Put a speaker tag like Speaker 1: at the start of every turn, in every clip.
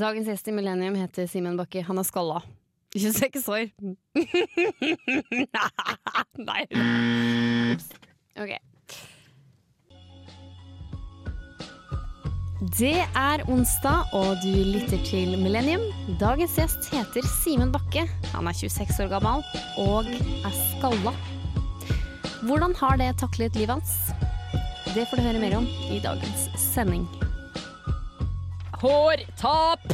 Speaker 1: Dagens gjest i Millennium heter Simen Bakke. Han er skalla. 26 år. Nei. Ok. Det er onsdag, og du lytter til Millennium. Dagens gjest heter Simen Bakke. Han er 26 år gammel og er skalla. Hvordan har det taklet livet hans? Det får du høre mer om i dagens sending. Hårtap!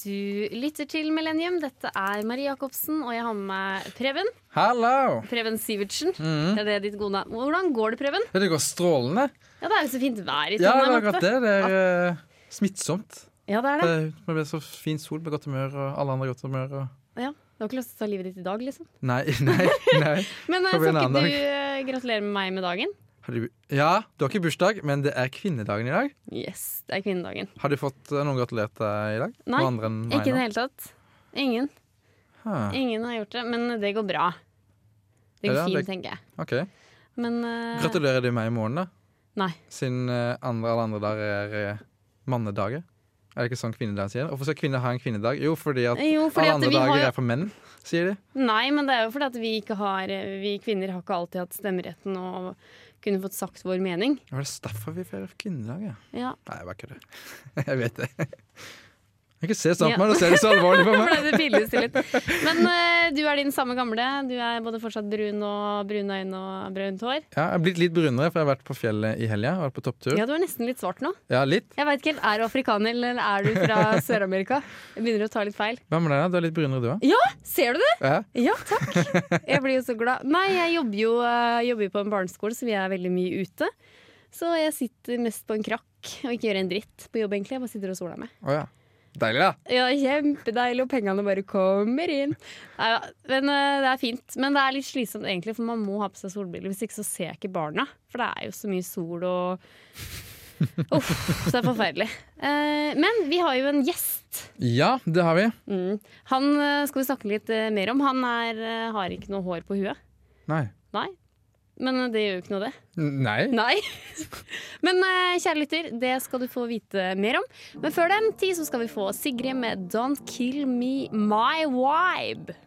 Speaker 1: Du lytter til Millennium. Dette er Marie Jacobsen, og jeg har med meg Preben.
Speaker 2: Hallo!
Speaker 1: Preben Sivertsen.
Speaker 2: Mhm.
Speaker 1: Det er det ditt gode navn. Hvordan går det, Preben?
Speaker 2: Det går strålende.
Speaker 1: Ja, det er jo så fint vær
Speaker 2: Ja,
Speaker 1: i
Speaker 2: det er
Speaker 1: Trondheim. vet
Speaker 2: akkurat
Speaker 1: du.
Speaker 2: det. Det er eh, smittsomt.
Speaker 1: Ja, det er
Speaker 2: Det
Speaker 1: det.
Speaker 2: er- Man blir så fin sol med godt humør, og alle andre har godt humør. Og...
Speaker 1: Ja. Du har ikke lyst til å ta livet ditt i dag, liksom.
Speaker 2: Nei, nei, nei.
Speaker 1: Men eh,
Speaker 2: Får bli en
Speaker 1: skal ikke
Speaker 2: annen
Speaker 1: du eh, gratulere med meg med dagen?
Speaker 2: Har du... Ja, du har ikke bursdag, men det er kvinnedagen i dag.
Speaker 1: Yes, det er kvinnedagen.
Speaker 2: Har du fått eh, noen gratulert deg i dag?
Speaker 1: Nei,
Speaker 2: Noen andre enn meg
Speaker 1: Ikke i det
Speaker 2: nå?
Speaker 1: hele tatt. Ingen.
Speaker 2: Ah,
Speaker 1: Ingen har gjort det, men det går bra. Det går
Speaker 2: Ja,
Speaker 1: fint,
Speaker 2: det-
Speaker 1: tenker jeg.
Speaker 2: ok.
Speaker 1: Men eh,
Speaker 2: Gratulerer du meg i morgen, da?
Speaker 1: Nei.
Speaker 2: Siden eh, andre, alle andre dager er eh, mannedager. Er det ikke sånn kvinnedagen sier? Hvorfor skal kvinner ha en kvinnedag? Jo, fordi at
Speaker 1: Jo, fordi
Speaker 2: alle
Speaker 1: at
Speaker 2: andre
Speaker 1: vi har
Speaker 2: dager
Speaker 1: jo-
Speaker 2: er for menn, sier de.
Speaker 1: Nei, men det er jo fordi at vi ikke har eh, Vi kvinner har ikke alltid hatt stemmeretten og kunne fått sagt vår mening.
Speaker 2: Var det derfor vi feirer kvinnedag, ja?
Speaker 1: Ja.
Speaker 2: Nei, jeg bare kødder. Jeg vet det. Jeg kan ikke se sånn
Speaker 1: Ja.
Speaker 2: på meg, nå ser du så alvorlig på
Speaker 1: Da
Speaker 2: meg.
Speaker 1: ble det pilleste litt. Men eh, du er din samme gamle. Du er både fortsatt brun og brune øyne og brunt hår.
Speaker 2: Ja, jeg har blitt litt brunere, for jeg har vært på fjellet i helga. Vært på topptur.
Speaker 1: Ja, du er nesten litt svart nå.
Speaker 2: Ja, litt.
Speaker 1: Jeg veit ikke helt. Er du afrikaner, eller er du fra Sør-Amerika? Jeg begynner å ta litt feil.
Speaker 2: Hva med deg, da? Du er litt brunere, du òg?
Speaker 1: Ser du det?
Speaker 2: Ja.
Speaker 1: Ja, takk. Jeg blir jo så glad. Nei, jeg jobber jo eh, jobber jo på en barneskole, så vi er veldig mye ute. Så jeg sitter mest på en krakk og ikke gjør en dritt på jobb, egentlig. Jeg bare sitter og soler meg.
Speaker 2: Å ja. Deilig, da.
Speaker 1: Ja, kjempedeilig, og pengene bare kommer inn. Nei, da, men eh, det er fint. Men det er litt slitsomt, egentlig, for man må ha på seg solbriller. Hvis ikke så ser jeg ikke barna, for det er jo så mye sol og Uff, så det er forferdelig. Eh, men vi har jo en gjest.
Speaker 2: Ja, det har vi.
Speaker 1: Mm. Han eh, skal vi snakke litt eh, mer om. Han er, eh, har ikke noe hår på huet.
Speaker 2: Nei.
Speaker 1: Nei. Men eh, det gjør jo ikke noe, det.
Speaker 2: N- Nei.
Speaker 1: Nei. Men eh, kjære lytter, det skal du få vite mer om. Men før den tid så skal vi få Sigrid med 'Don't Kill Me My Vibe'.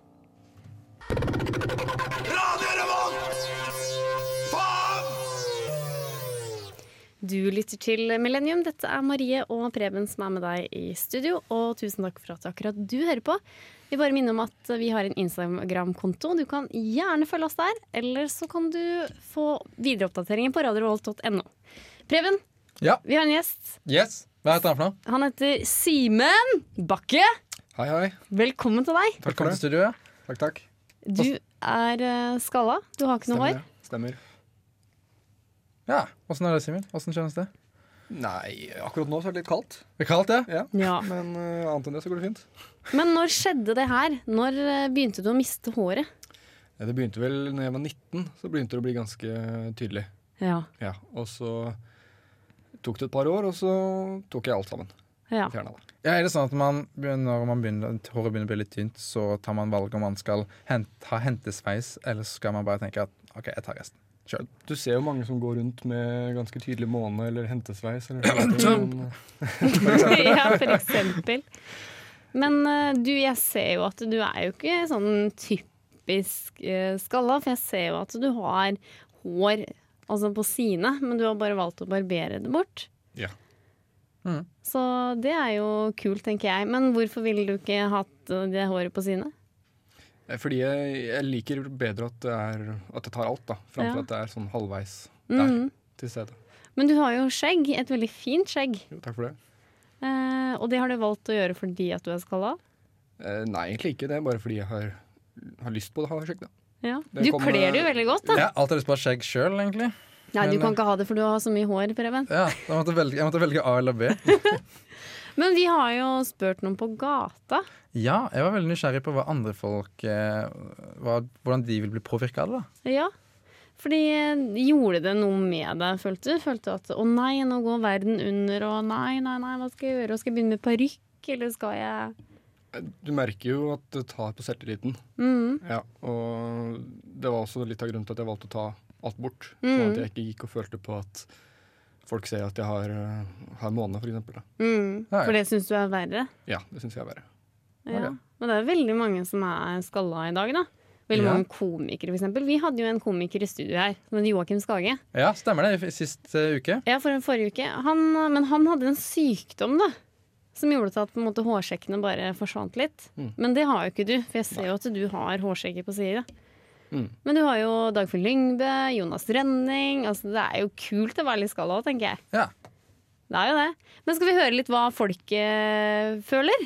Speaker 1: Du lytter til Millennium. Dette er Marie og Preben som er med deg i studio. Og tusen takk for at akkurat du hører på. Vi bare minner om at vi har en Instagram-konto. Du kan gjerne følge oss der. Eller så kan du få videreoppdateringer på radiorevolt.no. Preben,
Speaker 2: Ja.
Speaker 1: vi har en gjest.
Speaker 2: Yes. Hva heter han for noe?
Speaker 1: Han heter Simen Bakke.
Speaker 3: Hei, hei.
Speaker 1: Velkommen til deg.
Speaker 3: Takk for
Speaker 2: Velkommen
Speaker 3: det.
Speaker 2: til studioet.
Speaker 3: Takk, takk.
Speaker 1: Du er eh, skalla. Du har ikke noe hår.
Speaker 3: det. Stemmer.
Speaker 2: Ja. Åssen er det, Simen? Åssen kjennes det?
Speaker 3: Nei, akkurat nå så er det litt kaldt.
Speaker 2: Det er kaldt, ja?
Speaker 3: Ja.
Speaker 1: Ja.
Speaker 3: Men eh, annet enn det så går det fint.
Speaker 1: Men når skjedde det her? Når eh, begynte du å miste håret?
Speaker 3: Ja, det begynte vel når jeg var 19, så begynte det å bli ganske tydelig.
Speaker 1: Ja.
Speaker 3: Ja, Og så tok det et par år, og så tok jeg alt sammen.
Speaker 1: ja.
Speaker 3: Fjerna det.
Speaker 2: Ja, er det sånn at man, når man begynner, håret begynner å bli litt tynt, så tar man valget om man skal hent, ha hentesveis, eller skal man bare tenke at OK, jeg tar resten sjøl.
Speaker 3: Du ser jo mange som går rundt med ganske tydelig måne eller hentesveis. Eller noe sånt, men, eh,
Speaker 1: ja, for eksempel. Men eh, du, jeg ser jo at du er jo ikke sånn typisk eh, skalla, for jeg ser jo at du har hår altså på sidene, men du har bare valgt å barbere det bort.
Speaker 3: Ja.
Speaker 2: Mhm.
Speaker 1: Så det er jo kult, tenker jeg. Men hvorfor ville du ikke hatt eh, det håret på sidene?
Speaker 3: eh, fordi jeg, jeg liker bedre at det, er, at det tar alt, da.
Speaker 1: Ja.
Speaker 3: Framfor at det er sånn halvveis der
Speaker 1: Mhm.
Speaker 3: til stede.
Speaker 1: Men du har jo skjegg, et veldig fint skjegg.
Speaker 3: Jo, takk for det.
Speaker 1: Eh, og det har du valgt å gjøre fordi at du er skalla?
Speaker 3: Eh, nei, egentlig ikke. Det er bare fordi jeg har, har lyst på det. Har jeg sjekket det.
Speaker 1: Ja.
Speaker 3: Det
Speaker 1: Du
Speaker 3: kommer-
Speaker 1: kler det jo veldig godt, da.
Speaker 2: Ja, alt er lyst på å ha skjegg sjøl, egentlig.
Speaker 1: Nei,
Speaker 2: Men,
Speaker 1: du
Speaker 3: eh,
Speaker 1: kan ikke ha det, for du har så mye hår, Preben.
Speaker 2: Ja, jeg måtte, velge, jeg måtte velge A eller B.
Speaker 1: Men vi har jo spurt noen på gata.
Speaker 2: Ja, jeg var veldig nysgjerrig på hva andre folk eh, hva, Hvordan de vil bli påvirka av det. da
Speaker 1: Ja. Fordi eh, gjorde det noe med deg, følte du? Følte du at å nei, nå går verden under, og nei, nei, nei, hva skal jeg gjøre? Skal jeg begynne med parykk, eller skal jeg
Speaker 3: Eh, Du merker jo at det tar på selvtilliten.
Speaker 1: Mm.
Speaker 3: Ja, og det var også litt av grunnen til at jeg valgte å ta alt bort. Sånn
Speaker 1: Mm.
Speaker 3: at jeg ikke gikk og følte på at folk ser at jeg har, eh, har måne, for eksempel. Da.
Speaker 1: Mm.
Speaker 2: Nei.
Speaker 1: For det syns du er verre?
Speaker 3: Ja, det syns jeg er verre.
Speaker 1: Ja.
Speaker 2: Ok.
Speaker 1: Men det er veldig mange som er skalla i dag, da. Veldig
Speaker 2: Ja.
Speaker 1: mange komikere, for eksempel. Vi hadde jo en komiker i studio her, som het Joakim Skage.
Speaker 2: Ja, stemmer det. i f- Sist eh, uke.
Speaker 1: Ja, for forrige uke. Han, men han hadde en sykdom, da. Som gjorde til at på en måte, hårsekkene bare forsvant litt.
Speaker 3: Mm.
Speaker 1: Men det har jo ikke du, for jeg ser jo at du har hårsekker på sida.
Speaker 3: Mm.
Speaker 1: Men du har jo Dagfinn Lyngbø, Jonas Rønning altså, Det er jo kult å være litt skalla òg, tenker jeg.
Speaker 2: Ja.
Speaker 1: Det er jo det. Men skal vi høre litt hva folket føler?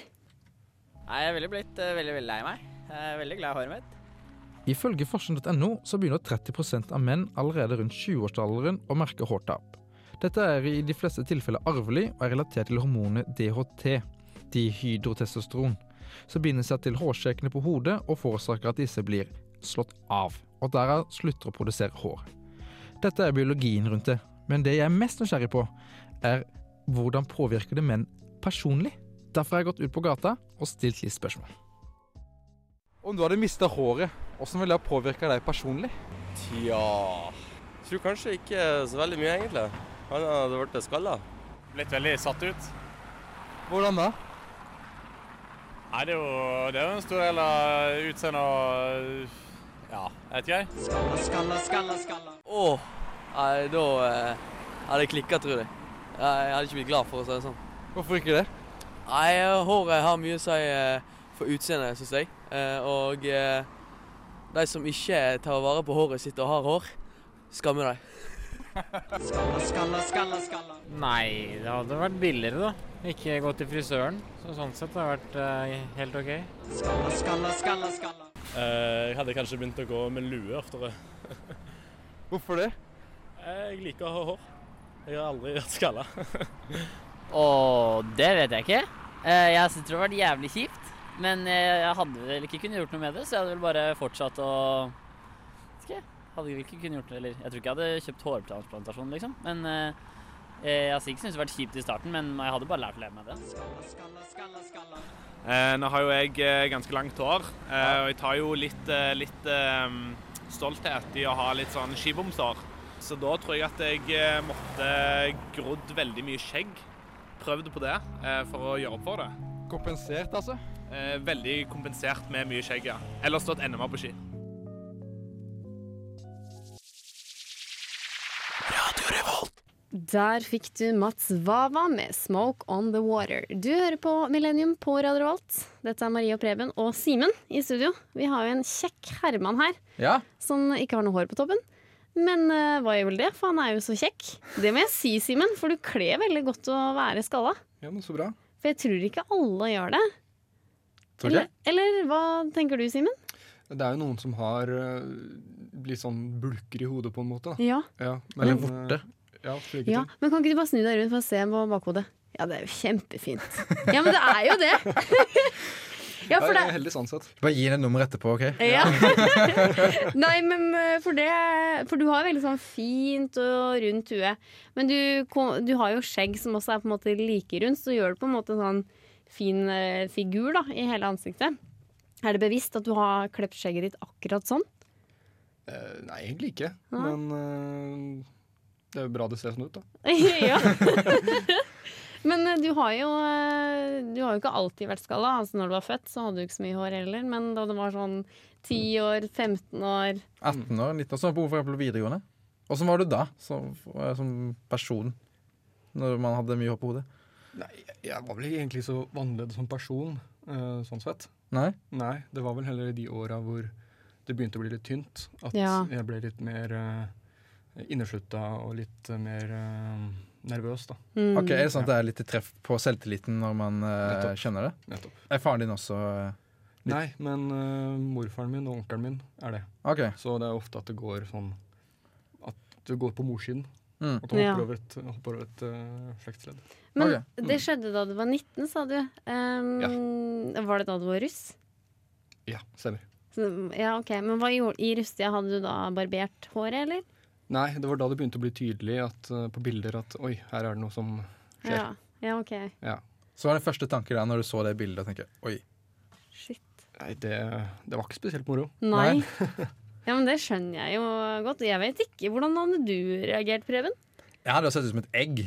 Speaker 4: Nei, jeg er veldig blitt eh, veldig, veldig lei meg. Jeg er veldig glad i håret mitt.
Speaker 5: Ifølge forskning.no så begynner 30 av menn allerede rundt 20-årsalderen å merke hårtap. Dette er i de fleste tilfeller arvelig og er relatert til hormonet DHT, dihydrotestosteron, som binder seg til hårsekkene på hodet og forårsaker at disse blir slått av, og derav slutter å produsere hår. Dette er biologien rundt det, men det jeg er mest nysgjerrig på, er hvordan påvirker det menn personlig? Derfor har jeg gått ut på gata og stilt litt spørsmål. Om du hadde mista håret, hvordan ville det påvirka deg personlig?
Speaker 6: Tja Jeg tror kanskje ikke så veldig mye, egentlig. Han hadde blitt skalla.
Speaker 7: blitt veldig satt ut.
Speaker 5: Hvordan da?
Speaker 7: Nei, det er jo, det er jo en stor del av utseendet og Ja, jeg vet ikke jeg.
Speaker 6: Åh, nei, da eh, hadde jeg klikka, tror jeg. Jeg hadde ikke blitt glad for å si det sånn.
Speaker 5: Hvorfor ikke det?
Speaker 6: Nei, håret har mye å si eh, for utseendet, syns jeg. Eh, Og eh, de som ikke tar vare på håret sitt og har hår, skammer deg.
Speaker 8: Nei, det hadde vært billigere, da. Ikke gå til frisøren. Så sånn sett har det vært eh, helt OK.
Speaker 9: Eh, Jeg hadde kanskje begynt å gå med lue oftere. Eh,
Speaker 5: Hvorfor det?
Speaker 9: Jeg liker å ha hår. Jeg har aldri vært skalla.
Speaker 10: Og det vet jeg ikke. Eh, Jeg synes det har vært jævlig kjipt. Men eh, jeg hadde vel ikke kunnet gjort noe med det, så jeg hadde vel bare fortsatt å Vet ikke, jeg. hadde vel ikke kunnet gjort det, eller Jeg tror ikke jeg hadde kjøpt hårtransplantasjon, liksom. Men eh, eh, jeg altså, ikke synes det har vært kjipt i starten, men jeg hadde bare lært å leve med det.
Speaker 7: Eh, nå har jo jeg eh, ganske langt hår, eh, og jeg tar jo litt, eh, litt eh, stolthet i å ha litt sånn skibomshår. Så da tror jeg at jeg eh, måtte grodd veldig mye skjegg. Prøvd på det eh, for å gjøre opp for det.
Speaker 5: Kompensert, altså?
Speaker 7: Eh, veldig kompensert med mye skjegg, ja. Eller stått enda mer på ski.
Speaker 1: Der fikk du Mats Vava med 'Smoke On The Water'. Du hører på Millennium på Radio Revolt. Dette er Marie og Preben og Simen i studio. Vi har jo en kjekk Herman her,
Speaker 2: Ja.
Speaker 1: som ikke har noe hår på toppen. Men eh, hva gjør vel det, for han er jo så kjekk. Det må jeg si, Simen, for du kler veldig godt å være skalla.
Speaker 3: Ja, men så bra.
Speaker 1: For jeg tror ikke alle gjør det.
Speaker 2: Tror ikke.
Speaker 1: Eller, eller hva tenker du, Simen?
Speaker 3: Det er jo noen som har eh, litt sånn bulker i hodet, på en måte. Da.
Speaker 1: Ja.
Speaker 3: Ja,
Speaker 2: Eller
Speaker 3: men,
Speaker 2: vorte.
Speaker 3: eh, Ja, slike
Speaker 1: ja.
Speaker 3: ting.
Speaker 1: Men kan ikke du bare snu deg rundt for å se på bakhodet? Ja, det er jo kjempefint. Ja, men det er jo det! Ja,
Speaker 3: Ja,
Speaker 1: for
Speaker 3: jeg
Speaker 1: det
Speaker 3: er heldig sånn sett.
Speaker 2: Bare gi henne nummeret etterpå, OK?
Speaker 1: Ja. Nei, men eh, for det For du har veldig sånn fint og rundt hue. Men du, ko- du har jo skjegg som også er på en måte like rundt, så gjør du på en måte en sånn fin eh, figur da, i hele ansiktet. Er det bevisst at du har klept skjegget ditt akkurat sånn?
Speaker 3: Eh, nei, egentlig ikke.
Speaker 1: Nei.
Speaker 3: Men eh, det er jo bra det ser sånn ut, da.
Speaker 1: ja. Men eh, du har jo eh, Du har jo ikke alltid vært skalla. Altså når du var født, så hadde du ikke så mye hår heller. Men da du var sånn 10 år, 15 år
Speaker 5: Mm.
Speaker 2: 18 år, 19 år, så var det behov for eksempel videregående. Åssen var du da, som, eh, som person? Når man hadde mye hår på hodet?
Speaker 3: Jeg var vel egentlig så annerledes som person, eh, sånn sett.
Speaker 2: Nei?
Speaker 3: Nei, det var vel heller i de åra hvor det begynte å bli litt tynt. At
Speaker 1: Ja.
Speaker 3: jeg ble litt mer uh, inneslutta og litt eh, mer eh, nervøs, da.
Speaker 1: mm.
Speaker 2: Ok, Er det sånn at det er litt treff på selvtilliten når man eh,
Speaker 3: Nettopp.
Speaker 2: skjønner det?
Speaker 3: Nettopp.
Speaker 2: Er faren din også eh, Litt-
Speaker 3: Nei, men eh, morfaren min og onkelen min er det.
Speaker 2: OK.
Speaker 3: Så det er ofte at det går sånn At du går på morssiden.
Speaker 2: Mm.
Speaker 3: At du hopper
Speaker 1: Ja.
Speaker 3: over et, hopper over et eh, slektsledd.
Speaker 1: Men
Speaker 2: Ok,
Speaker 1: det skjedde da du var 19, sa du. Ehm, Var det da du var russ?
Speaker 3: Ja, stemmer.
Speaker 1: Så, ja, ok. Men hva gjorde, i russetida hadde du da barbert håret, eller?
Speaker 3: Nei, det var da det begynte å bli tydelig at, eh, på bilder at oi, her er det noe som skjer.
Speaker 1: Ja. ja, ok.
Speaker 2: Så var det første tanke da når du så det bildet og tenker oi,
Speaker 1: Shit.
Speaker 3: Nei, det, det var ikke spesielt moro.
Speaker 1: Nei. Ja, men det skjønner jeg jo godt. Jeg vet ikke. Hvordan hadde du reagert, Preben?
Speaker 2: Jeg hadde jo sett ut som et egg.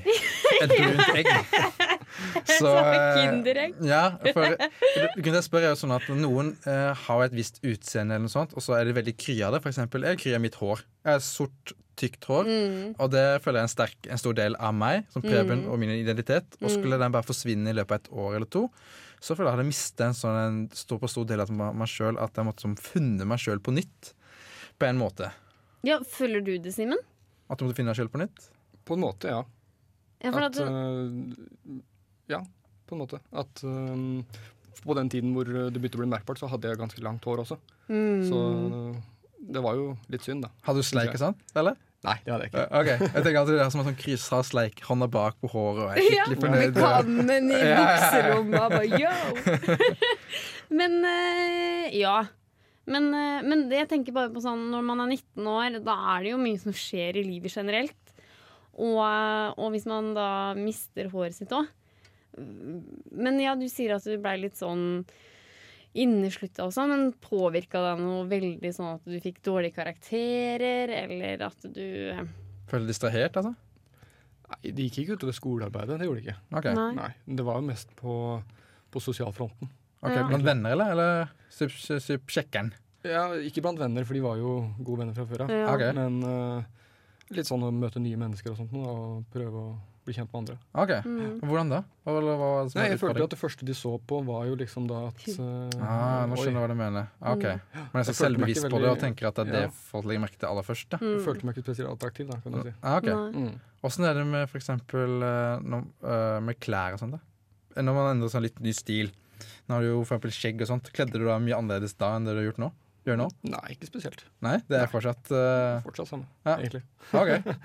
Speaker 2: Et brunt egg.
Speaker 1: Som et
Speaker 2: eh,
Speaker 1: kinderegg.
Speaker 2: Ja, for du kunne spørre jo sånn at Noen eh, har et visst utseende, eller noe sånt, og så er de veldig kry av det. For eksempel, jeg er kry av mitt hår. Jeg har sort, tykt hår.
Speaker 1: Mm.
Speaker 2: Og det føler jeg er en, sterk, en stor del av meg, som Preben
Speaker 1: Mm.
Speaker 2: og min identitet. Og skulle
Speaker 1: Mm.
Speaker 2: den bare forsvinne i løpet av et år eller to, så føler jeg at jeg hadde mistet en sånn en stor, på stor del av meg meg selv, at jeg måtte som funnet meg sjøl på nytt. På en måte.
Speaker 1: Ja, Følger du det, Simen?
Speaker 2: At du måtte finne deg sjøl på nytt.
Speaker 3: På en måte, ja.
Speaker 1: Ja, for at du-
Speaker 3: eh, ja, på en måte. At eh, på den tiden hvor det begynte å bli merkbart, så hadde jeg ganske langt hår også.
Speaker 1: Mm.
Speaker 3: Så det var jo litt synd, da.
Speaker 2: Hadde du sleik og sånn? Eller?
Speaker 3: Nei, det hadde jeg ikke.
Speaker 2: Eh, Ok, Jeg tenker alltid det er som at sånn Chris har sleik hånda bak på håret og er skikkelig fornøyd.
Speaker 1: Med kannen
Speaker 2: Ja,
Speaker 1: i
Speaker 2: ja, ja.
Speaker 1: bukserommet og bare yo! men eh, ja. Men, eh, men det jeg tenker bare på sånn når man er 19 år, da er det jo mye som skjer i livet generelt. Og, eh, og hvis man da mister håret sitt òg. Men ja, du sier at du blei litt sånn inneslutta og sånn, men påvirka det noe veldig sånn at du fikk dårlige karakterer, eller at du eh,
Speaker 2: Føler du distrahert, altså?
Speaker 3: Eh, Nei, det gikk ikke utover skolearbeidet. Det gjorde det ikke.
Speaker 2: Ok. Nei.
Speaker 3: Det var jo mest på, på sosialfronten.
Speaker 2: Ok, Ja. Blant venner, eller? Eller sup, sup, sup, sjekkeren?
Speaker 3: Ja, ikke blant venner, for de var jo gode venner fra før av.
Speaker 2: Ja. Ok.
Speaker 3: Men eh, litt sånn å møte nye mennesker og sånt nå, da, og prøve å bli kjent med andre.
Speaker 2: Ok, Hvordan da? Hva, hva, hva var det som
Speaker 3: Nei,
Speaker 2: var
Speaker 3: jeg følte
Speaker 2: utfordringen?
Speaker 3: at det første de så på, var jo liksom da at eh,
Speaker 2: Ah, nå
Speaker 3: oi.
Speaker 2: skjønner jeg hva du mener. Ah, Ok,
Speaker 3: Mm.
Speaker 2: Men jeg er så
Speaker 3: følte meg
Speaker 2: selvbevisst på
Speaker 3: ikke
Speaker 2: det og
Speaker 3: veldig-
Speaker 2: tenker at det er det
Speaker 3: Ja.
Speaker 2: folk legger merke til aller først. Da.
Speaker 3: Jeg følte meg ikke spesielt attraktiv, da, kan du si.
Speaker 2: Ah, ok.
Speaker 3: Mm.
Speaker 2: Åssen er det med for eksempel eh, når- eh, med klær og sånn, da? Eh, Når man endrer sånn litt ny stil. Nå har du jo for eksempel skjegg og sånt. Kledde du deg mye annerledes da enn det du har gjort nå? Gjør nå?
Speaker 3: Nei, ikke spesielt.
Speaker 2: Nei, det er fortsatt eh,
Speaker 3: Fortsatt samme,
Speaker 2: ja.
Speaker 3: egentlig.
Speaker 2: Ok.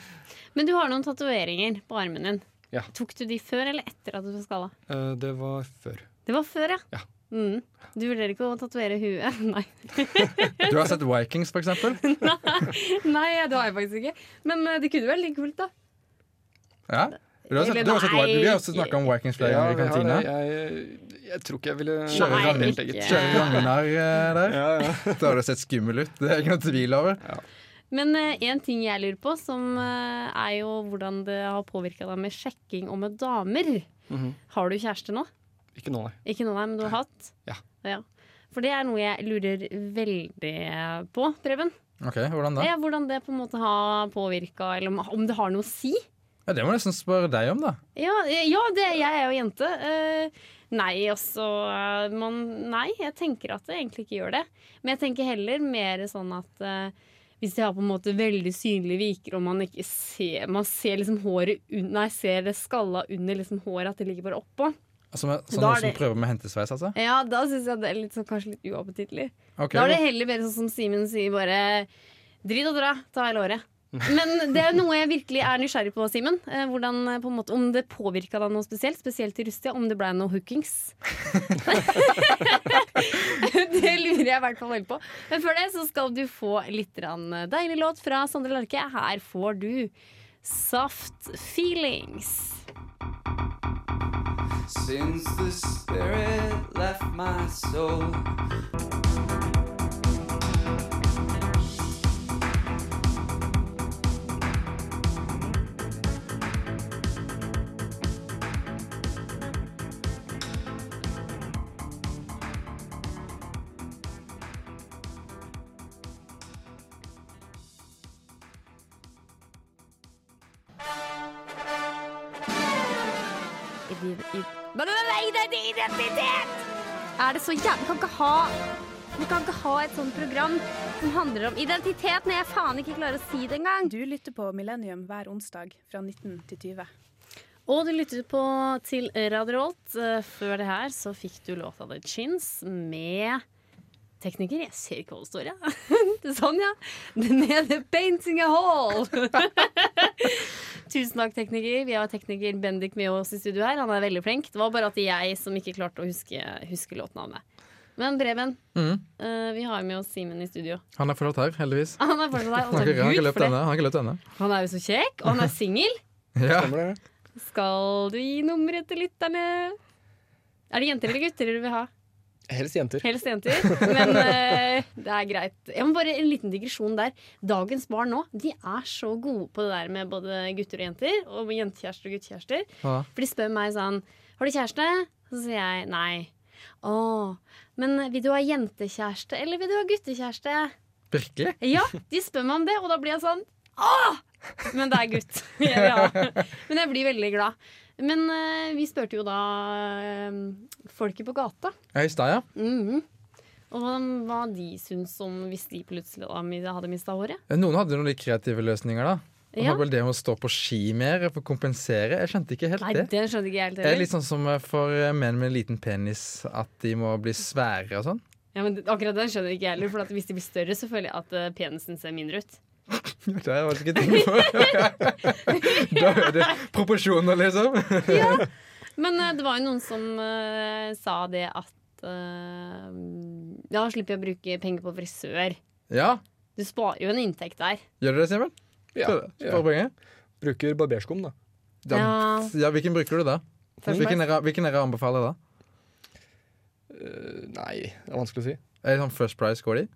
Speaker 1: Men du har noen tatoveringer på armen din.
Speaker 3: Ja.
Speaker 1: Tok du de før eller etter at du ble skalla?
Speaker 3: Eh, det var før.
Speaker 1: Det var før, ja. Mm. Du vurderer ikke å tatovere huet? Nei.
Speaker 2: Du har sett Vikings, for eksempel?
Speaker 1: Nei, det har jeg faktisk ikke. Men eh, det kunne vært like kult, da.
Speaker 2: Ja. Du har sett, du har sett, Vi har også snakka om Vikings flere ganger i
Speaker 3: vi har det.
Speaker 2: kantina.
Speaker 3: Jeg, jeg tror ikke jeg ville
Speaker 2: Kjøre
Speaker 3: Nei,
Speaker 2: ragnar
Speaker 3: helt eget.
Speaker 2: kjøre ragnar, eh, der. Da har det sett skummel ut. Det er ikke noe tvil over.
Speaker 1: Men én ting jeg lurer på, som eh, er jo hvordan det har påvirka deg med sjekking og med damer.
Speaker 3: Mhm.
Speaker 1: Har du kjæreste nå?
Speaker 3: Ikke nå, nei.
Speaker 1: Ikke nå, nei, men du har hatt?
Speaker 3: Ja.
Speaker 1: For det er noe jeg lurer veldig på, Preben.
Speaker 2: Ok, Hvordan da?
Speaker 1: Ja, hvordan det på en måte har påvirka, eller om- om det har noe å si.
Speaker 2: Ja, det må jeg nesten spørre deg om, da.
Speaker 1: Ja, eh, ja det, jeg er jo jente. Eh, nei, altså eh, man, Nei, jeg tenker at det egentlig ikke gjør det. Men jeg tenker heller mer sånn at eh, hvis de har på en måte veldig synlige viker, og man ikke ser Man ser liksom håret un, Nei, ser det skalla under liksom håret, at det ligger bare oppå.
Speaker 2: Altså, med, sånn
Speaker 1: Da er
Speaker 2: noen som
Speaker 1: det-
Speaker 2: prøver med hentesveis, altså?
Speaker 1: Ja, da syns jeg det er litt sånn, kanskje litt uappetittlig.
Speaker 2: Ok,
Speaker 1: da er det
Speaker 2: men-
Speaker 1: heller mer sånn som Simen sier, bare drit og dra, ta hele året. Men det er noe jeg virkelig er nysgjerrig på, Simen. Eh, Hvordan, eh, på en måte, Om det påvirka deg noe spesielt, spesielt i Rustia, om det blei noe hookings? det lurer jeg i hvert fall veldig på. Men før det så skal du få litt grann deilig låt fra Sondre Larke. Her får du Soft Feelings.
Speaker 11: Since the spirit left my soul.
Speaker 1: Ide- i- Men det er ide- identitet! Er det så jævlig? Vi kan ikke ha vi kan ikke ha et sånt program som handler om identitet når jeg faen ikke klarer å si det engang.
Speaker 12: Du lytter på Millennium hver onsdag fra 19 til 20.
Speaker 1: Og du lytter på til Radio Rolt. Eh, Før det her så fikk du låta The Chins med tekniker. Jeg ser ikke hva det står, jeg. Det er Sånn, ja. Med The Painting a Hall. Tusen takk, tekniker. Vi har tekniker Bendik med oss i studio her. Han er veldig flink. Det var bare at jeg som ikke klarte å huske, huske låtnavnet. Men Breben,
Speaker 5: Mhm.
Speaker 1: eh, vi har med oss Simen i studio.
Speaker 5: Han er fortsatt her, heldigvis.
Speaker 1: Han er fortsatt her.
Speaker 5: Han har ikke- han har ikke
Speaker 1: Og takk Gud
Speaker 5: løpt
Speaker 1: for
Speaker 5: ennå.
Speaker 1: det.
Speaker 5: Han har ikke løpt ennå.
Speaker 1: Han er jo så kjekk, og han er singel.
Speaker 5: Ja.
Speaker 1: Skal du gi nummeret til lytterne? Er det jenter eller gutter du vil ha?
Speaker 3: Helst jenter.
Speaker 1: Helst jenter. Men eh, det er greit. Jeg må bare En liten digresjon der. Dagens barn nå de er så gode på det der med både gutter og jenter. Og med jentekjærester og guttekjærester.
Speaker 2: Ja.
Speaker 1: For de spør meg sånn Har du kjæreste? Så sier jeg nei. Å, men vil du ha jentekjæreste eller vil du ha guttekjæreste?
Speaker 2: Virkelig?
Speaker 1: Ja, de spør meg om det, og da blir jeg sånn Åh! Men det er gutt. ja. Men jeg blir veldig glad. Men eh, vi spurte jo da eh, folket på gata.
Speaker 2: Ja, I stad, ja. Mm-hmm.
Speaker 1: Mhm. Og hva, hva de syns om hvis de plutselig da, mi- hadde mista håret.
Speaker 2: Eh, Noen hadde noen litt kreative løsninger, da. Og det
Speaker 1: Ja.
Speaker 2: var vel det med å stå på ski mer for å kompensere. Jeg skjønte ikke helt
Speaker 1: Nei,
Speaker 2: det.
Speaker 1: det skjønte ikke jeg helt
Speaker 2: Det er
Speaker 1: heller.
Speaker 2: litt sånn som for menn med liten penis, at de må bli svære og sånn.
Speaker 1: Ja, men det- akkurat den skjønner ikke jeg heller, for at hvis de blir større, så føler jeg at eh, penisen ser mindre ut.
Speaker 2: Det har jeg faktisk ikke tenkt på. da er det proporsjoner, liksom.
Speaker 1: Men eh, det var jo noen som eh, sa det at eh, Da slipper jeg å bruke penger på frisør.
Speaker 2: ja.
Speaker 1: Du sparer jo en inntekt der.
Speaker 2: Gjør du det, Simen?
Speaker 3: Ja,
Speaker 2: Sparer-
Speaker 3: ja.
Speaker 2: Sparer penger?
Speaker 3: Bruker barberskum, da.
Speaker 2: Da- ja,
Speaker 1: Ja.
Speaker 2: hvilken bruker du da?
Speaker 1: First
Speaker 2: Hvilken
Speaker 1: price.
Speaker 2: dere, hvilken dere anbefaler da?
Speaker 3: Eh, nei, det er vanskelig å si.
Speaker 2: Er det sånn First Price går de?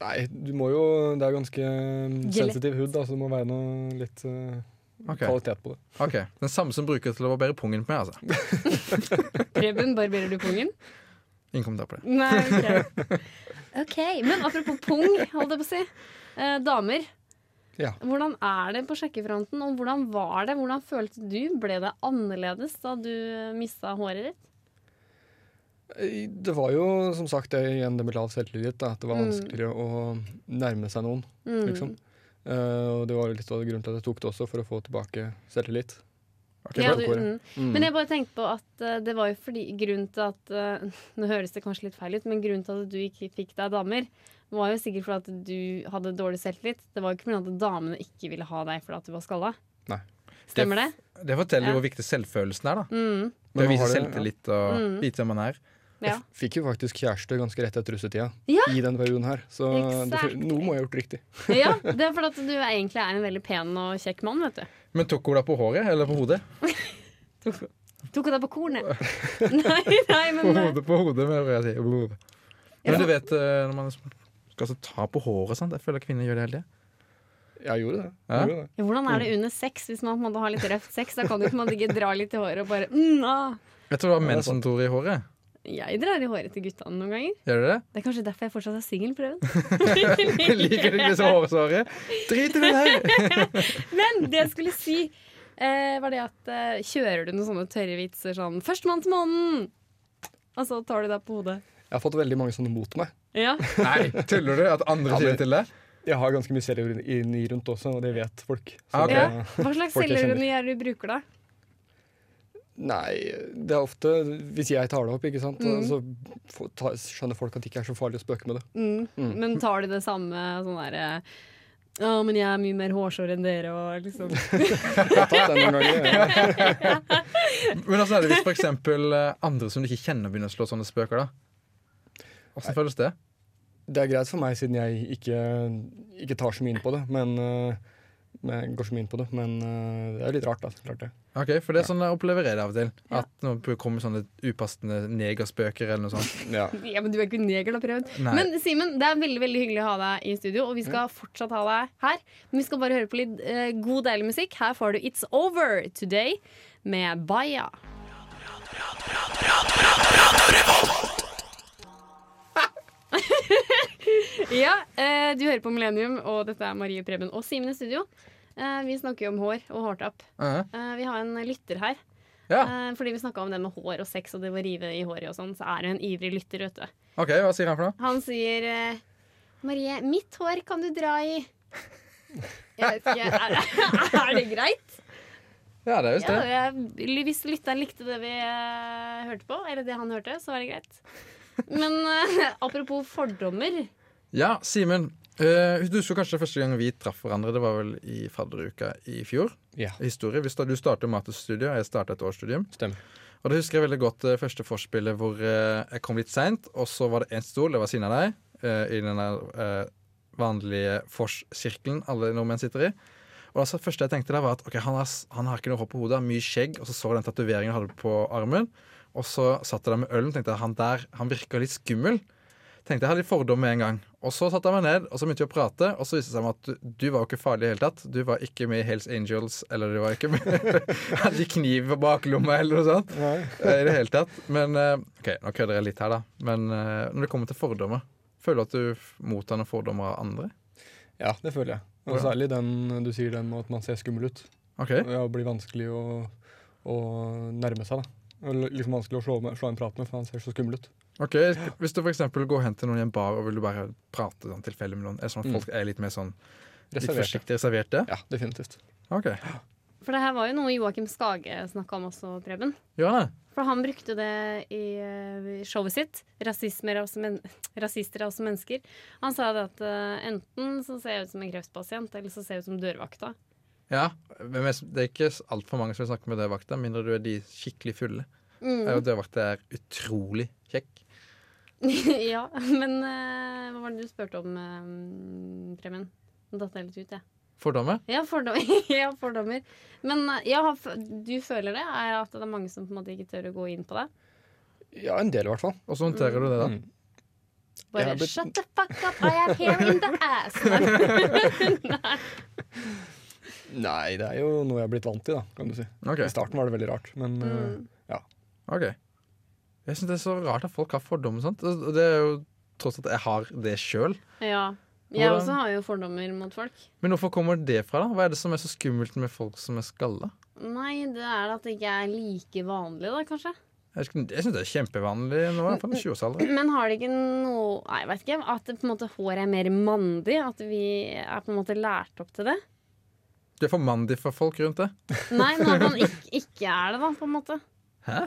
Speaker 3: Nei, du må jo Det er ganske mm,
Speaker 2: Gelé.
Speaker 3: sensitiv hud, da, så det må være noe litt eh,
Speaker 2: Ok.
Speaker 3: kvalitet på det.
Speaker 2: Ok, Den samme som bruker til å barbere pungen på meg, altså.
Speaker 1: Preben, barberer du pungen?
Speaker 2: Ingen kommentar på det.
Speaker 1: Nei, ok. ok, Men apropos pung, holdt jeg på å si. Eh, damer.
Speaker 3: Ja.
Speaker 1: Hvordan er det på sjekkefronten, og hvordan var det? Hvordan følte du? Ble det annerledes da du mista håret ditt?
Speaker 3: Eh, Det var jo som sagt det igjen det med lav selvtillit. Da, at det var
Speaker 1: Mm.
Speaker 3: vanskeligere å nærme seg noen,
Speaker 1: Mm.
Speaker 3: liksom. Eh, og det var litt av grunnen til at jeg tok det også, for å få tilbake selvtillit.
Speaker 1: Ja, du, mm.
Speaker 3: Mm.
Speaker 1: Men jeg bare tenkte på at eh, det var jo fordi grunnen til at eh, Nå høres det kanskje litt feil ut, men grunnen til at du ikke fikk deg damer, var jo sikkert fordi at du hadde dårlig selvtillit. Det var jo ikke fordi at damene ikke ville ha deg fordi at du var skalla.
Speaker 2: Nei.
Speaker 1: Stemmer det?
Speaker 2: Det forteller jo
Speaker 1: Ja.
Speaker 2: hvor viktig selvfølelsen er, da.
Speaker 1: Mm.
Speaker 2: Det å
Speaker 3: Men
Speaker 2: vise
Speaker 3: har det-
Speaker 2: selvtillit og
Speaker 1: Mm.
Speaker 2: vite hvem man er.
Speaker 1: Ja.
Speaker 3: Fikk jo faktisk kjæreste ganske rett etter russetida.
Speaker 1: Ja.
Speaker 3: I den perioden her. Så det,
Speaker 1: Exactly.
Speaker 3: noe må jeg ha gjort riktig.
Speaker 1: Ja, det er fordi at du egentlig er en veldig pen og kjekk mann, vet du.
Speaker 2: Men tok hun da på håret eller på hodet?
Speaker 1: Tok deg på kornet. Nei, nei,
Speaker 2: på
Speaker 1: men eh,
Speaker 2: hodet, på hodet, men jeg si. På hodet. Men du vet eh, når man skal altså ta på håret og sånt. Jeg føler kvinner gjør det hele tida.
Speaker 3: Jeg gjorde det.
Speaker 2: Ja?
Speaker 3: Jeg gjorde det.
Speaker 1: Ja, Hvordan er det under sex hvis man på en måte har litt røft sex? Da kan du på en måte ikke dra litt i håret og bare mm, ah.
Speaker 2: Jeg tror det var menn som dro i håret.
Speaker 1: Jeg drar i håret til guttene noen ganger.
Speaker 2: Gjør du det?
Speaker 1: Det er kanskje derfor jeg fortsatt er singel, Preben.
Speaker 2: Liker du ikke disse hårsårene? Drit i det der!
Speaker 1: Men det jeg skulle si, eh, var det at eh, kjører du noen sånne tørre vitser sånn 'Førstemann til månen', og så tar du deg på hodet?
Speaker 3: Jeg har fått veldig mange sånne mot meg.
Speaker 1: Ja.
Speaker 2: Nei, tuller du? At andre
Speaker 3: Ja,
Speaker 2: sier
Speaker 3: men-
Speaker 2: det til deg?
Speaker 3: Jeg har ganske mye selvironi rundt også, og det vet folk. Så
Speaker 2: Ah, ok.
Speaker 1: ja. Hva slags
Speaker 3: folk jeg kjenner.
Speaker 1: selvironi er det du bruker da?
Speaker 3: Nei, det er ofte Hvis jeg tar det opp, ikke sant,
Speaker 1: Mm.
Speaker 3: så få- ta, skjønner folk at det ikke er så farlig å spøke med det.
Speaker 1: Mm.
Speaker 3: Mm.
Speaker 1: Men tar de det samme sånn derre Å, men jeg er mye mer hårsår enn dere, og liksom
Speaker 3: Jeg har tatt den noen ganger. ja.
Speaker 2: Men altså, er det hvis for eksempel eh, andre som du ikke kjenner, begynner å slå sånne spøker, da? Åssen føles det?
Speaker 3: Det er greit for meg, siden jeg ikke, ikke tar så mye inn på det. Men, øh, men går så mye inn på det, men øh, det er litt rart, da. så Klart det.
Speaker 2: Ok, For det er sånn jeg opplever jeg det av og til. At når det kommer sånne upassende negerspøker eller noe sånt.
Speaker 3: Ja.
Speaker 1: Ja, men du er ikke neger, da, Preben.
Speaker 2: Nei.
Speaker 1: Men Simen, det er veldig veldig hyggelig å ha deg i studio, og vi skal fortsatt ha deg her. Men vi skal bare høre på litt eh, god, deilig musikk. Her får du It's Over Today med Baya. ja, eh, du hører på Millennium, og dette er Marie Preben og Simen i studio. Eh, vi snakker jo om hår og hårtapp.
Speaker 2: Mhm.
Speaker 1: Eh, vi har en lytter her.
Speaker 2: Ja.
Speaker 1: Eh, fordi vi snakka om det med hår og sex og det å rive i håret og sånn, så er det en ivrig lytter, vet du.
Speaker 2: Ok, Hva sier han for noe?
Speaker 1: Han sier eh, Marie, mitt hår kan du dra i. Jeg vet ikke, er, er det greit?
Speaker 2: Ja, det er visst
Speaker 1: Ja,
Speaker 2: det.
Speaker 1: jeg, hvis lytteren likte det vi eh, hørte på, eller det han hørte, så var det greit. Men eh, apropos fordommer.
Speaker 2: Ja, Simen. eh, du husker kanskje første gang vi traff hverandre. Det var vel i fadderuka i fjor.
Speaker 3: Ja.
Speaker 2: Historie. Vi sta- Du startet masterstudiet, og jeg startet et årsstudium.
Speaker 3: Stemmer.
Speaker 2: Og det husker jeg veldig godt eh, første forspillet hvor eh, jeg kom litt seint, og så var det én stol, det var siden av deg, eh, i den der eh, vanlige forssirkelen alle nordmenn sitter i. Og altså, det første jeg tenkte der var at ok, han, har, s- han har ikke noe hår på hodet, han har mye skjegg, og så så jeg den tatoveringen han hadde på armen. Og så satt jeg der med ølen og tenkte jeg, han der han virker litt skummel. Tenkte jeg hadde litt fordom med en gang. Og så satte jeg meg ned og så begynte vi å prate, og så viste det seg meg at du, du var jo ikke farlig i det hele tatt. Du var ikke med i Hells Angels, eller du var ikke med Hadde kniv på baklomma eller noe sånt. Eh, I det hele tatt. Men eh, OK, nå kødder jeg litt her, da. Men eh, når det kommer til fordommer, føler du at du f- mottar noen fordommer av andre?
Speaker 3: Ja, det føler jeg. Og
Speaker 2: Hvordan?
Speaker 3: særlig den du sier den med at man ser skummel ut.
Speaker 2: Ok.
Speaker 3: Ja, det blir vanskelig å, å nærme seg, da. Eller liksom vanskelig å slå, med, slå en prat med, for han ser så skummel ut.
Speaker 2: Ok, Hvis du for eksempel går hen til noen i en bar og vil du bare prate sånn tilfeldig med noen, er det sånn at
Speaker 3: Mm.
Speaker 2: folk er litt mer sånn litt
Speaker 3: Reserverte.
Speaker 2: forsiktig reserverte?
Speaker 3: Ja, definitivt.
Speaker 2: Ok.
Speaker 1: For det her var jo noe Joakim Skage snakka om også, Preben.
Speaker 2: Gjør han det?
Speaker 1: For han brukte det i eh, showet sitt, 'Rasismer er også men rasister er også mennesker'. Han sa det at eh, enten så ser jeg ut som en kreftpasient, eller så ser jeg ut som dørvakta.
Speaker 2: Ja, men mest- det er ikke altfor mange som vil snakke med dørvakta, mindre du er de skikkelig fulle.
Speaker 1: Mm.
Speaker 2: Mm. Dørvakta er utrolig kjekk.
Speaker 1: ja, men eh, hva var det du spurte om, eh, Preben? Nå datt jeg litt ut, jeg.
Speaker 2: Fordommer?
Speaker 1: Ja, fordom ja, fordommer. Men eh, ja, f- du føler det? Er at det er mange som på en måte ikke tør å gå inn på det?
Speaker 3: Ja, en del i hvert fall.
Speaker 2: Og så håndterer du det, da?
Speaker 1: Bare
Speaker 3: Jeg har blitt-
Speaker 1: shut the fuck up, I am here in the ass! Nei.
Speaker 3: Nei, det er jo noe jeg er blitt vant til, da, kan du si.
Speaker 2: Ok.
Speaker 3: I starten var det veldig rart, men
Speaker 1: Mm.
Speaker 3: eh, ja.
Speaker 2: Ok. Jeg syns det er så rart at folk har fordommer. sant? Og det er jo tross at jeg har det sjøl.
Speaker 1: ja. Jeg
Speaker 2: Hvordan-
Speaker 1: også har jo fordommer mot folk.
Speaker 2: Men hvorfor kommer det fra, da? Hva er det som er så skummelt med folk som er skalla?
Speaker 1: Nei, det er at det ikke er like vanlig, da, kanskje.
Speaker 2: Jeg, sk- jeg syns det er kjempevanlig nå, i hvert fall i 20-årsalderen.
Speaker 1: Men har det ikke noe Nei, jeg vet ikke. At det på en måte håret er mer mandig? At vi er på en måte lært opp til det?
Speaker 2: Du er for mandig for folk rundt det.
Speaker 1: Nei, når man ikke, ikke er det, da, på en måte.
Speaker 2: Hæ?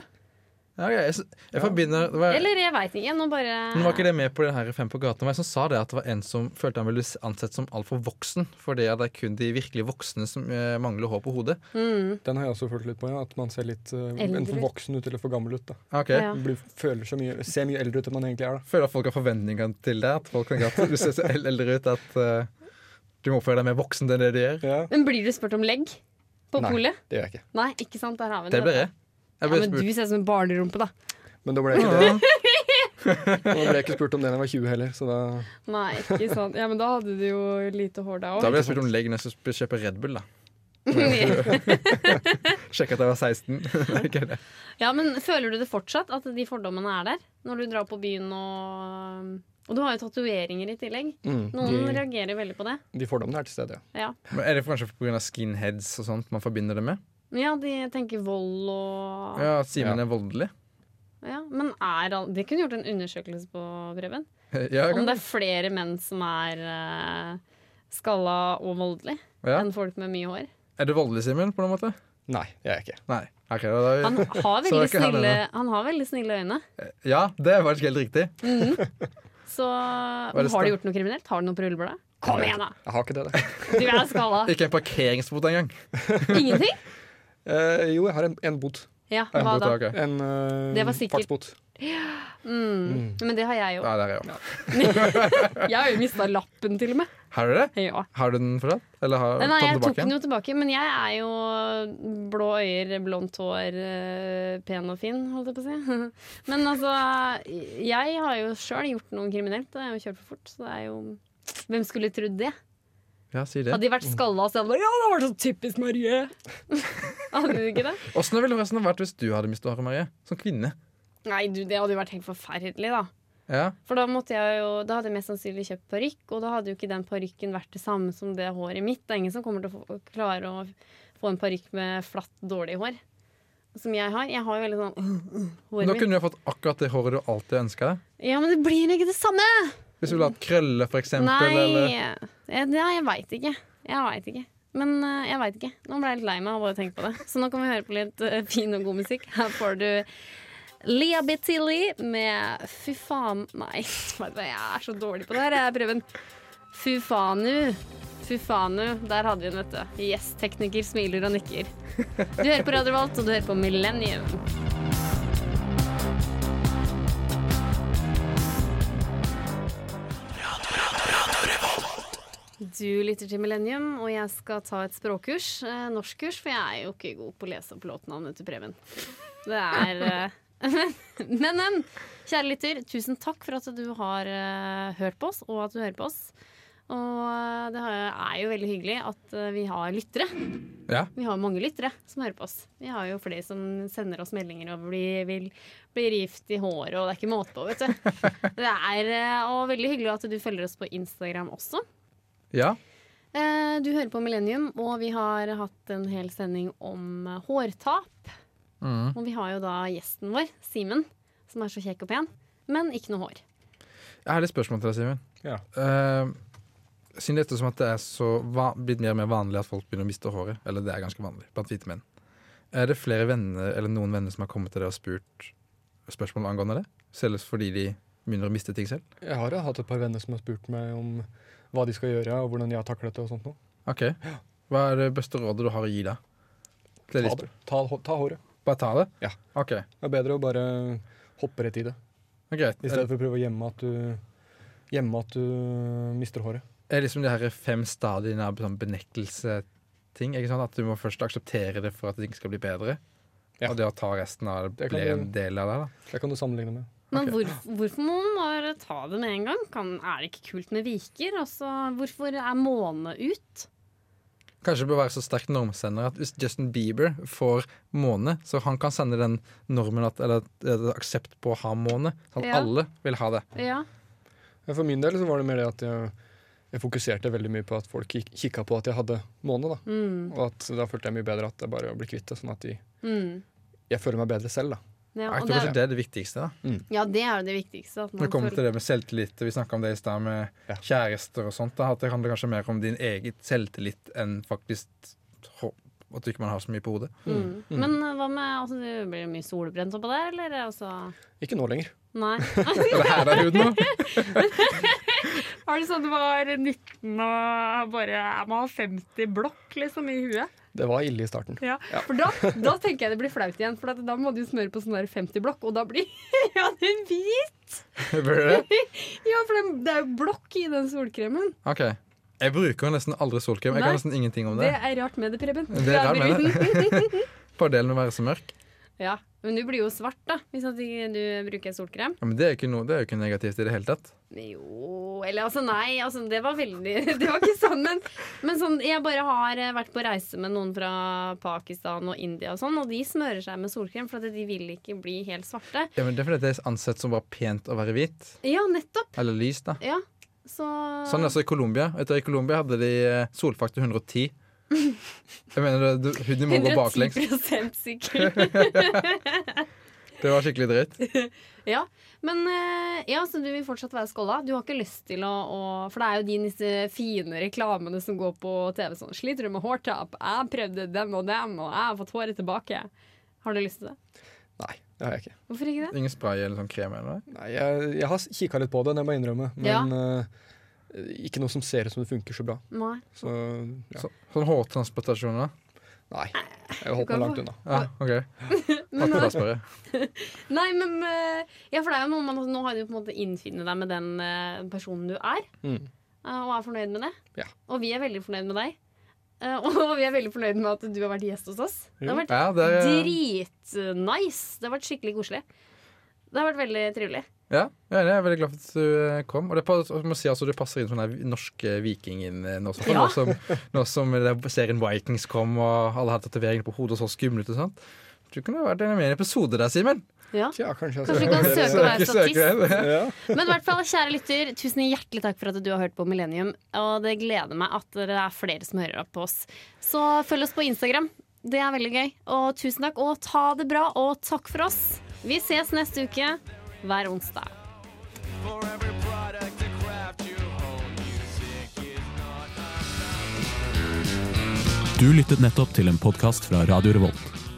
Speaker 2: Ja, ok, jeg, s- jeg forbinder det var,
Speaker 1: Eller jeg veit ikke. Nå bare
Speaker 2: Men var ikke det med på den her Fem på gaten? Men jeg som sa det at det var en som følte han ville bli ansett som altfor voksen, fordi at det er kun de virkelig voksne som eh, mangler hår på hodet.
Speaker 3: Den har jeg også følt litt på, ja. At man ser litt eh,
Speaker 2: Eldre
Speaker 3: enten for
Speaker 2: ut.
Speaker 3: voksen ut eller for gammel ut. da.
Speaker 2: Ok. Ja.
Speaker 3: Blir, føler seg mye, ser mye eldre ut enn man egentlig er. da.
Speaker 2: Føler at folk har forventninger til deg, at folk tenker at du ser så el- eldre ut at eh, du må oppføre deg mer voksen enn det du gjør.
Speaker 1: Men blir du spurt om legg på
Speaker 2: Nei,
Speaker 1: polet?
Speaker 3: det gjør jeg ikke.
Speaker 1: Nei, ikke sant? Der har vi
Speaker 2: Det blir jeg. Jeg ble
Speaker 1: ja, men
Speaker 2: spurt.
Speaker 1: du ser ut som en barnerumpe, da.
Speaker 3: Men da ble jeg ikke det. Og da ble jeg ikke spurt om det da jeg var 20 heller, så da
Speaker 1: Nei, ikke sant. Ja, men da hadde du jo lite hår da òg.
Speaker 2: Da ble jeg spurt om legg når jeg skulle kjøpe Red Bull, da. Sjekke at jeg var 16. Nei, ikke det.
Speaker 1: Ja, men føler du det fortsatt, at de fordommene er der? Når du drar på byen og Og du har jo tatoveringer i tillegg.
Speaker 2: Mm,
Speaker 1: Noen
Speaker 2: de-
Speaker 1: reagerer veldig på det.
Speaker 3: De fordommene er til stede,
Speaker 1: Ja.
Speaker 2: Men er det kanskje pga. skinheads og sånt man forbinder det med?
Speaker 1: Men ja, de tenker vold og
Speaker 2: Ja, At Simen er voldelig?
Speaker 1: Ja, Men er all... Det kunne gjort en undersøkelse på, Preben.
Speaker 2: Ja, jeg
Speaker 1: Om
Speaker 2: kan-
Speaker 1: det er flere menn som er eh, skalla og voldelig
Speaker 2: Ja.
Speaker 1: enn folk med mye hår.
Speaker 2: Er du voldelig, Simen, på noen måte?
Speaker 3: Nei, jeg er ikke.
Speaker 2: Nei. Ok, da, da,
Speaker 1: Han har
Speaker 2: Så er
Speaker 1: veldig,
Speaker 2: ikke han
Speaker 1: snille,
Speaker 2: ennå.
Speaker 1: han har veldig snille øyne.
Speaker 2: Ja, det er faktisk helt riktig.
Speaker 1: Mhm. Så
Speaker 2: er det
Speaker 1: har du
Speaker 2: sta-
Speaker 1: gjort noe kriminelt? Har du noe på rullebladet? Kom igjen, da!
Speaker 3: Jeg har ikke det, da.
Speaker 1: Du er skalla.
Speaker 2: Ikke en parkeringsbot engang.
Speaker 1: Ingenting?
Speaker 3: Eh, jo, jeg har en, en bot.
Speaker 1: Ja, hva da?
Speaker 3: En eh,
Speaker 1: Det var sikkert-
Speaker 3: fartsbot.
Speaker 1: Mm. Men det har jeg jo.
Speaker 2: Ja, der er jeg òg.
Speaker 1: jeg har jo mista lappen, til og med.
Speaker 2: Har du det?
Speaker 1: Ja.
Speaker 2: Har du den fortsatt? Eller har
Speaker 1: Nei,
Speaker 2: du
Speaker 1: nei,
Speaker 2: tatt
Speaker 1: jeg
Speaker 2: den
Speaker 1: tok
Speaker 2: tilbake
Speaker 1: den
Speaker 2: igjen?
Speaker 1: jo tilbake, men jeg er jo blå øyer, blondt hår, eh, pen og fin, holdt jeg på å si. Men altså, jeg har jo sjøl gjort noe kriminelt, og jeg har jo kjørt for fort, så det er jo Hvem skulle trodd det?
Speaker 2: Ja, si det.
Speaker 1: Hadde de vært skalla, så hadde de bare Ja, det var så typisk Marie! hadde de ikke det?
Speaker 2: Åssen ville det forresten vært hvis du hadde mistet håret, Marie? Som kvinne.
Speaker 1: Nei, du, det hadde jo vært helt forferdelig, da.
Speaker 2: Ja.
Speaker 1: For da, måtte jeg jo, da hadde jeg mest sannsynlig kjøpt parykk, og da hadde jo ikke den parykken vært det samme som det håret mitt. Det er ingen som kommer til å få, klare å få en parykk med flatt, dårlig hår. Som jeg har. Jeg har jo veldig sånn øh, øh,
Speaker 2: Men
Speaker 1: håret
Speaker 2: Da
Speaker 1: mitt.
Speaker 2: kunne du ha fått akkurat det håret du alltid ønska deg.
Speaker 1: Ja, men det blir ikke det samme!
Speaker 2: Hvis du ville hatt krøller, for eksempel.
Speaker 1: Nei,
Speaker 2: Eller...
Speaker 1: jeg, ja, jeg veit ikke. Jeg veit ikke. Men eh, jeg veit ikke. Nå ble jeg litt lei meg av bare å tenke på det. Så nå kan vi høre på litt eh, fin og god musikk. Her får du Lia Betili med Fy faen Nei, vet du hva, jeg er så dårlig på det her, jeg, Preben. Fy fanu. Fy fanu. Der hadde vi den, vet du. Yes, tekniker smiler og nikker. Du hører på Radio Volt, og du hører på Millennium. Du lytter til Millennium, og jeg skal ta et språkkurs. Eh, norskkurs, for jeg er jo ikke god på å lese opp låtnavnet til Preben. Det er eh, Men, men, men, kjære lytter, tusen takk for at du har eh, hørt på oss, og at du hører på oss. Og eh, det har- er jo veldig hyggelig at eh, vi har lyttere.
Speaker 2: Ja.
Speaker 1: Vi har mange lyttere som hører på oss. Vi har jo flere som sender oss meldinger og blir, vil, blir gift i håret, og det er ikke måte på, vet du. Det er eh, og veldig hyggelig at du følger oss på Instagram også.
Speaker 2: Ja.
Speaker 1: Eh, Du hører på Millennium, og vi har hatt en hel sending om eh, hårtap.
Speaker 2: Mm.
Speaker 1: Og vi har jo da gjesten vår, Simen, som er så kjekk og pen, men ikke noe hår.
Speaker 2: Jeg har litt spørsmål til deg, Simen.
Speaker 3: Ja.
Speaker 2: Eh, siden det er som at det er så va- blitt mer og mer vanlig at folk begynner å miste håret, eller det er ganske vanlig blant hvite menn, er det flere venner eller noen venner som har kommet til deg og spurt spørsmål angående det? Selv fordi de begynner å miste ting selv?
Speaker 3: Jeg har jo hatt et par venner som har spurt meg om hva de skal gjøre, og hvordan jeg har taklet det og sånt noe.
Speaker 2: Ok. Hva er det beste rådet du har å gi deg? Til de
Speaker 3: Ta, det. ta, hå- ta håret.
Speaker 2: Bare ta det?
Speaker 3: Ja.
Speaker 2: Ok.
Speaker 3: Det er bedre å bare hoppe rett i det.
Speaker 2: Greit.
Speaker 3: I stedet for å prøve å gjemme at du, gjemme at du mister håret.
Speaker 2: er liksom de her fem stadiene av sånn benektelseting. Ikke sant? At du må først akseptere det for at det ikke skal bli bedre. Og det å ta resten av det
Speaker 3: kan
Speaker 2: blir
Speaker 3: du-
Speaker 2: en del av det. da
Speaker 3: Det kan du sammenligne med.
Speaker 1: Men hvorfor, hvorfor må man bare ta det med en gang? Kan, er det ikke kult med viker? Altså, hvorfor er måne ut?
Speaker 2: Kanskje det bør være så sterk normsender at hvis Justin Bieber får måne, så han kan sende den normen at, eller eh, aksept på å ha måne. Sånn at
Speaker 1: Ja.
Speaker 2: alle vil ha det.
Speaker 1: Ja.
Speaker 3: Ja, For min del så var det mer det at jeg, jeg fokuserte veldig mye på at folk kik kikka på at jeg hadde måne. da.
Speaker 1: Mm.
Speaker 3: Og at da følte jeg mye bedre at det er bare å bli kvitt det, sånn at de,
Speaker 1: Mm.
Speaker 3: jeg føler meg bedre selv. da.
Speaker 1: Ja, Jeg og tror det er- kanskje det
Speaker 2: er det viktigste. da.
Speaker 1: Ja, det er jo det viktigste.
Speaker 2: Når
Speaker 1: At man
Speaker 2: det kommer
Speaker 1: føler-
Speaker 2: til det med selvtillit, vi snakka om det i stad med kjærester og sånt, da, at det handler kanskje mer om din eget selvtillit enn faktisk hå- at du ikke man har så mye på hodet.
Speaker 1: Mm. Men eh, hva med altså, det Blir det mye solbrent oppå der, eller? Altså,
Speaker 3: Ikke nå lenger.
Speaker 1: nei.
Speaker 2: Er det her det er huden nå?
Speaker 1: Var det sånn du var 19 og bare Er man 50 blokk, liksom, i huet?
Speaker 3: Det var ille i starten.
Speaker 1: Ja, for da, da tenker jeg det blir flaut igjen, for at da må du smøre på sånn der 50 blokk, og da blir ja, den hvit!
Speaker 2: Bør det?
Speaker 1: Ja, for den, det er jo blokk i den solkremen.
Speaker 2: Ok. Jeg bruker jo nesten aldri solkrem. Jeg
Speaker 1: Nei,
Speaker 2: kan nesten ingenting om
Speaker 1: Det
Speaker 2: det.
Speaker 1: er rart med det, Preben.
Speaker 2: Det er rart med det. Fordelen med å være så mørk.
Speaker 1: ja, men du blir jo svart, da, hvis at ikke du bruker solkrem.
Speaker 2: Ja, men det er, jo ikke noe, det er jo ikke negativt i det hele tatt.
Speaker 1: Jo Eller altså, nei. Altså, det var veldig Det var ikke sånn, men, men sånn Jeg bare har eh, vært på reise med noen fra Pakistan og India og sånn, og de smører seg med solkrem, for at de vil ikke bli helt svarte.
Speaker 2: Ja, men Det er fordi det er ansett som bare pent å være hvit.
Speaker 1: Ja, nettopp.
Speaker 2: Eller lys, da.
Speaker 1: Ja, så
Speaker 2: Sånn er det altså i Colombia. Vet du, I Colombia hadde de eh, solfaktor 110. Jeg mener, du, huden må gå baklengs.
Speaker 1: 110 sikker.
Speaker 2: Det var skikkelig dritt.
Speaker 1: ja, men eh, ja, så du vil fortsatt være skåla. Du har ikke lyst til å, å For det er jo de disse fine reklamene som går på TV sånn 'Sliter du med hårtap? Jeg prøvde den og den, og jeg har fått håret tilbake'. Har du lyst til det?
Speaker 3: Det har jeg ikke.
Speaker 1: Hvorfor ikke det?
Speaker 2: Ingen spray eller sånn krem eller noe?
Speaker 3: Nei, jeg, jeg har kikka litt på det, det må jeg innrømme,
Speaker 1: Ja.
Speaker 3: men eh, ikke noe som ser ut som det funker så bra.
Speaker 1: Nei.
Speaker 3: Så, ja.
Speaker 2: Så, sånn hårtransplantasjon, da?
Speaker 3: Nei. Jeg holdt meg langt unna.
Speaker 2: Ja, OK.
Speaker 1: Men-
Speaker 2: Akkurat spør jeg.
Speaker 1: Nei, men eh, Ja, for det er jo noe man Nå har du på en måte innfinnet deg med den eh, personen du er,
Speaker 3: Mm.
Speaker 1: eh, og er fornøyd med det.
Speaker 3: Ja.
Speaker 1: Og vi er veldig fornøyd med deg. Eh, og vi er veldig fornøyd med at du har vært gjest hos oss. Det har
Speaker 2: Jo.
Speaker 1: vært
Speaker 2: Ja, det er-
Speaker 1: dritnice. Det har vært skikkelig koselig. Det har vært veldig trivelig.
Speaker 2: Ja, jeg er enig. Jeg er veldig glad for at du eh, kom. Og det pa- jeg må si altså, du passer inn som den der norske vikingen eh, nå, som,
Speaker 1: Ja.
Speaker 2: nå som, nå som det der serien Vikings kom, og alle hadde tatoveringer på hodet og så skumle ut og sånt. Du kunne vært en med i en episode der, Simen.
Speaker 1: Ja.
Speaker 3: kanskje
Speaker 1: Kanskje du kan søke deg statist.
Speaker 2: Ja.
Speaker 1: Men i hvert fall, kjære lytter, tusen hjertelig takk for at du har hørt på Millennium. Og det gleder meg at det er flere som hører opp på oss. Så følg oss på Instagram. Det er veldig gøy. Og tusen takk, og ta det bra, og takk for oss. Vi ses neste uke hver onsdag.
Speaker 11: For every product to craft your own music is not
Speaker 13: Du lyttet nettopp til en podkast fra Radio Revolt.